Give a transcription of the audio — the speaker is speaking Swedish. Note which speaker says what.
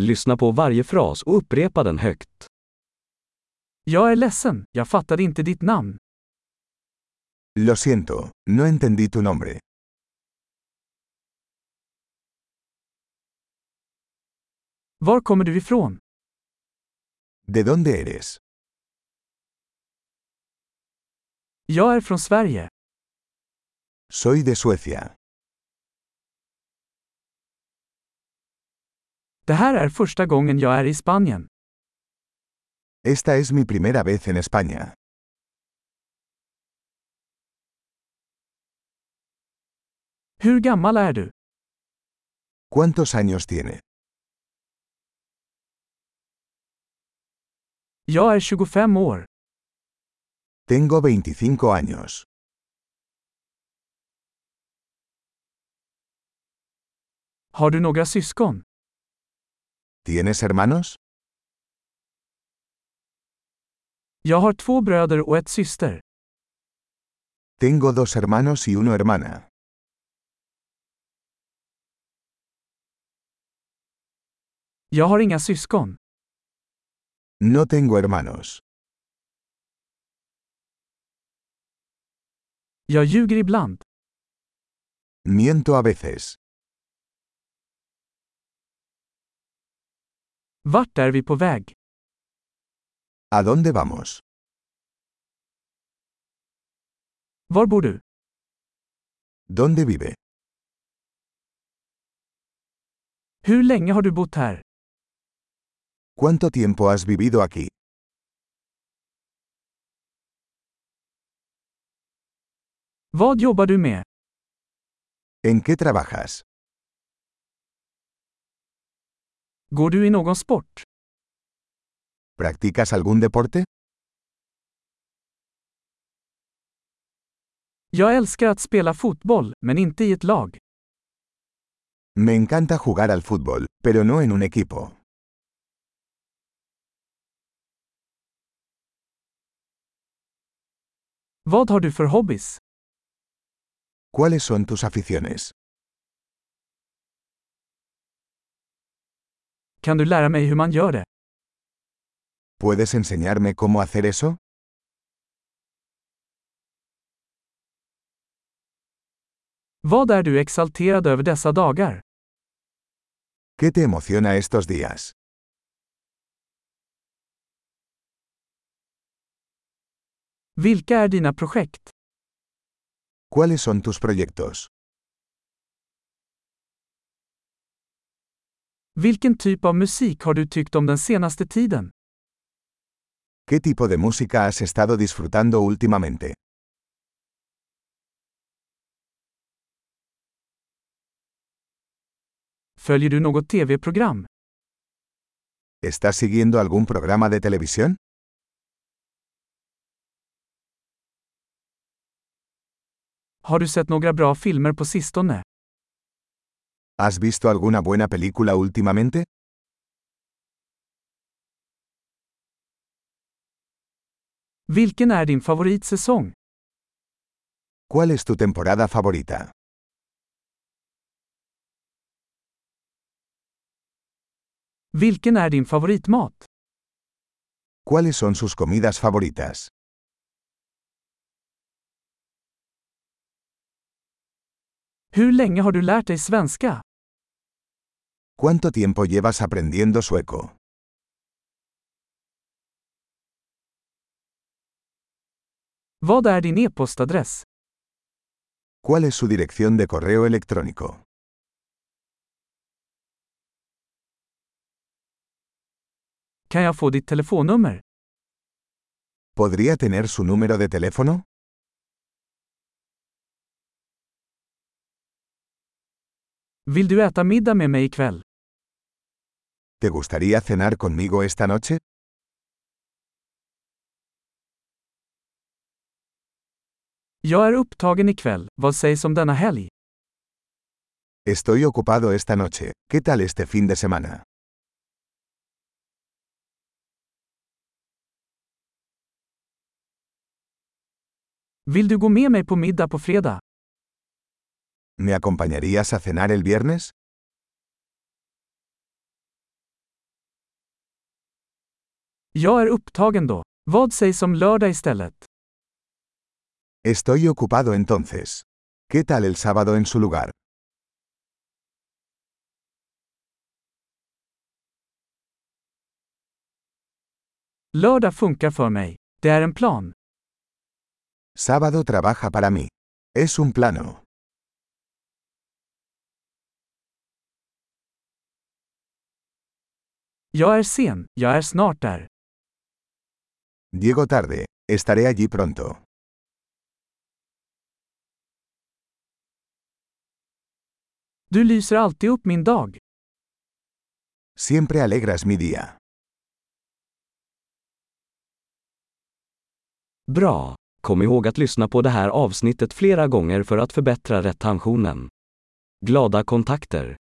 Speaker 1: Lyssna på varje fras och upprepa den högt.
Speaker 2: Jag är ledsen, jag fattade inte ditt namn.
Speaker 3: Lo siento, no entendí tu nombre.
Speaker 2: Var kommer du ifrån?
Speaker 3: ¿De dónde eres?
Speaker 2: Jag är från Sverige.
Speaker 3: Soy de Suecia.
Speaker 2: Det här är första gången jag är i Spanien.
Speaker 3: Esta es mi primera vez en España.
Speaker 2: Hur gammal är du?
Speaker 3: ¿Cuántos años tiene?
Speaker 2: Jag är 25 år.
Speaker 3: Tengo 25 años.
Speaker 2: Har du några syskon?
Speaker 3: ¿Tienes hermanos?
Speaker 2: Jag har två bröder och ett syster.
Speaker 3: Tengo dos hermanos y una hermana.
Speaker 2: Jag har inga syskon.
Speaker 3: No tengo hermanos.
Speaker 2: Jag ljuger ibland.
Speaker 3: Miento a veces.
Speaker 2: Vart är vi på väg?
Speaker 3: ¿A dónde vamos?
Speaker 2: Var bor du?
Speaker 3: ¿Dónde vive?
Speaker 2: Hur länge har du bott här?
Speaker 3: ¿Cuánto tiempo has vivido aquí?
Speaker 2: Vad jobbar du med?
Speaker 3: ¿En qué trabajas?
Speaker 2: Går du i någon sport?
Speaker 3: ¿Practicas algún deporte?
Speaker 2: Jag älskar att spela fotboll, men inte i ett lag.
Speaker 3: Me encanta jugar al fútbol, pero no en un equipo.
Speaker 2: Vad har du för hobbys?
Speaker 3: ¿Cuáles son tus aficiones?
Speaker 2: Kan du lära mig hur man gör det?
Speaker 3: ¿Puedes enseñarme cómo hacer eso?
Speaker 2: Vad är du exalterad över dessa dagar?
Speaker 3: ¿Qué te emociona estos días?
Speaker 2: Vilka är dina projekt?
Speaker 3: ¿Cuáles son tus proyectos?
Speaker 2: Vilken typ av musik har du tyckt om den senaste tiden?
Speaker 3: ¿Qué tipo de música has estado disfrutando últimamente?
Speaker 2: Följer du något tv-program?
Speaker 3: ¿Estás siguiendo algún programa de televisión?
Speaker 2: Har du sett några bra filmer på sistone?
Speaker 3: ¿Has visto alguna buena película últimamente?
Speaker 2: Vilken är din favoritsäsong?
Speaker 3: ¿Cuál es tu temporada favorita?
Speaker 2: Vilken är din favoritmat?
Speaker 3: ¿Cuáles son sus comidas favoritas?
Speaker 2: Hur länge har du lärt dig svenska?
Speaker 3: ¿Cuánto tiempo llevas aprendiendo sueco?
Speaker 2: Vad är din e-postadress?
Speaker 3: ¿Cuál es su dirección de correo electrónico?
Speaker 2: Kan jag få ditt telefonnummer?
Speaker 3: ¿Podría tener su número de teléfono?
Speaker 2: Vill du äta middag med mig ikväll?
Speaker 3: ¿Te gustaría cenar conmigo esta noche?
Speaker 2: Jag är upptagen ikväll, vad sägs om denna helg?
Speaker 3: Estoy ocupado esta noche. ¿Qué tal este fin de semana?
Speaker 2: Vill du gå med mig på middag på fredag?
Speaker 3: ¿Me acompañarías a cenar el viernes?
Speaker 2: Jag är upptagen då. Vad sägs om lördag istället?
Speaker 3: Estoy ocupado entonces. ¿Qué tal el sábado en su lugar?
Speaker 2: Lördag funkar för mig. Det är en plan.
Speaker 3: Sábado trabaja para mí. Es un plano.
Speaker 2: Jag är sen, jag är snart där.
Speaker 3: Llego tarde. Estaré allí pronto.
Speaker 2: Du lyser alltid upp min dag.
Speaker 3: Siempre alegras mi día.
Speaker 1: Bra! Kom ihåg att lyssna på det här avsnittet flera gånger för att förbättra retentionen. Glada kontakter!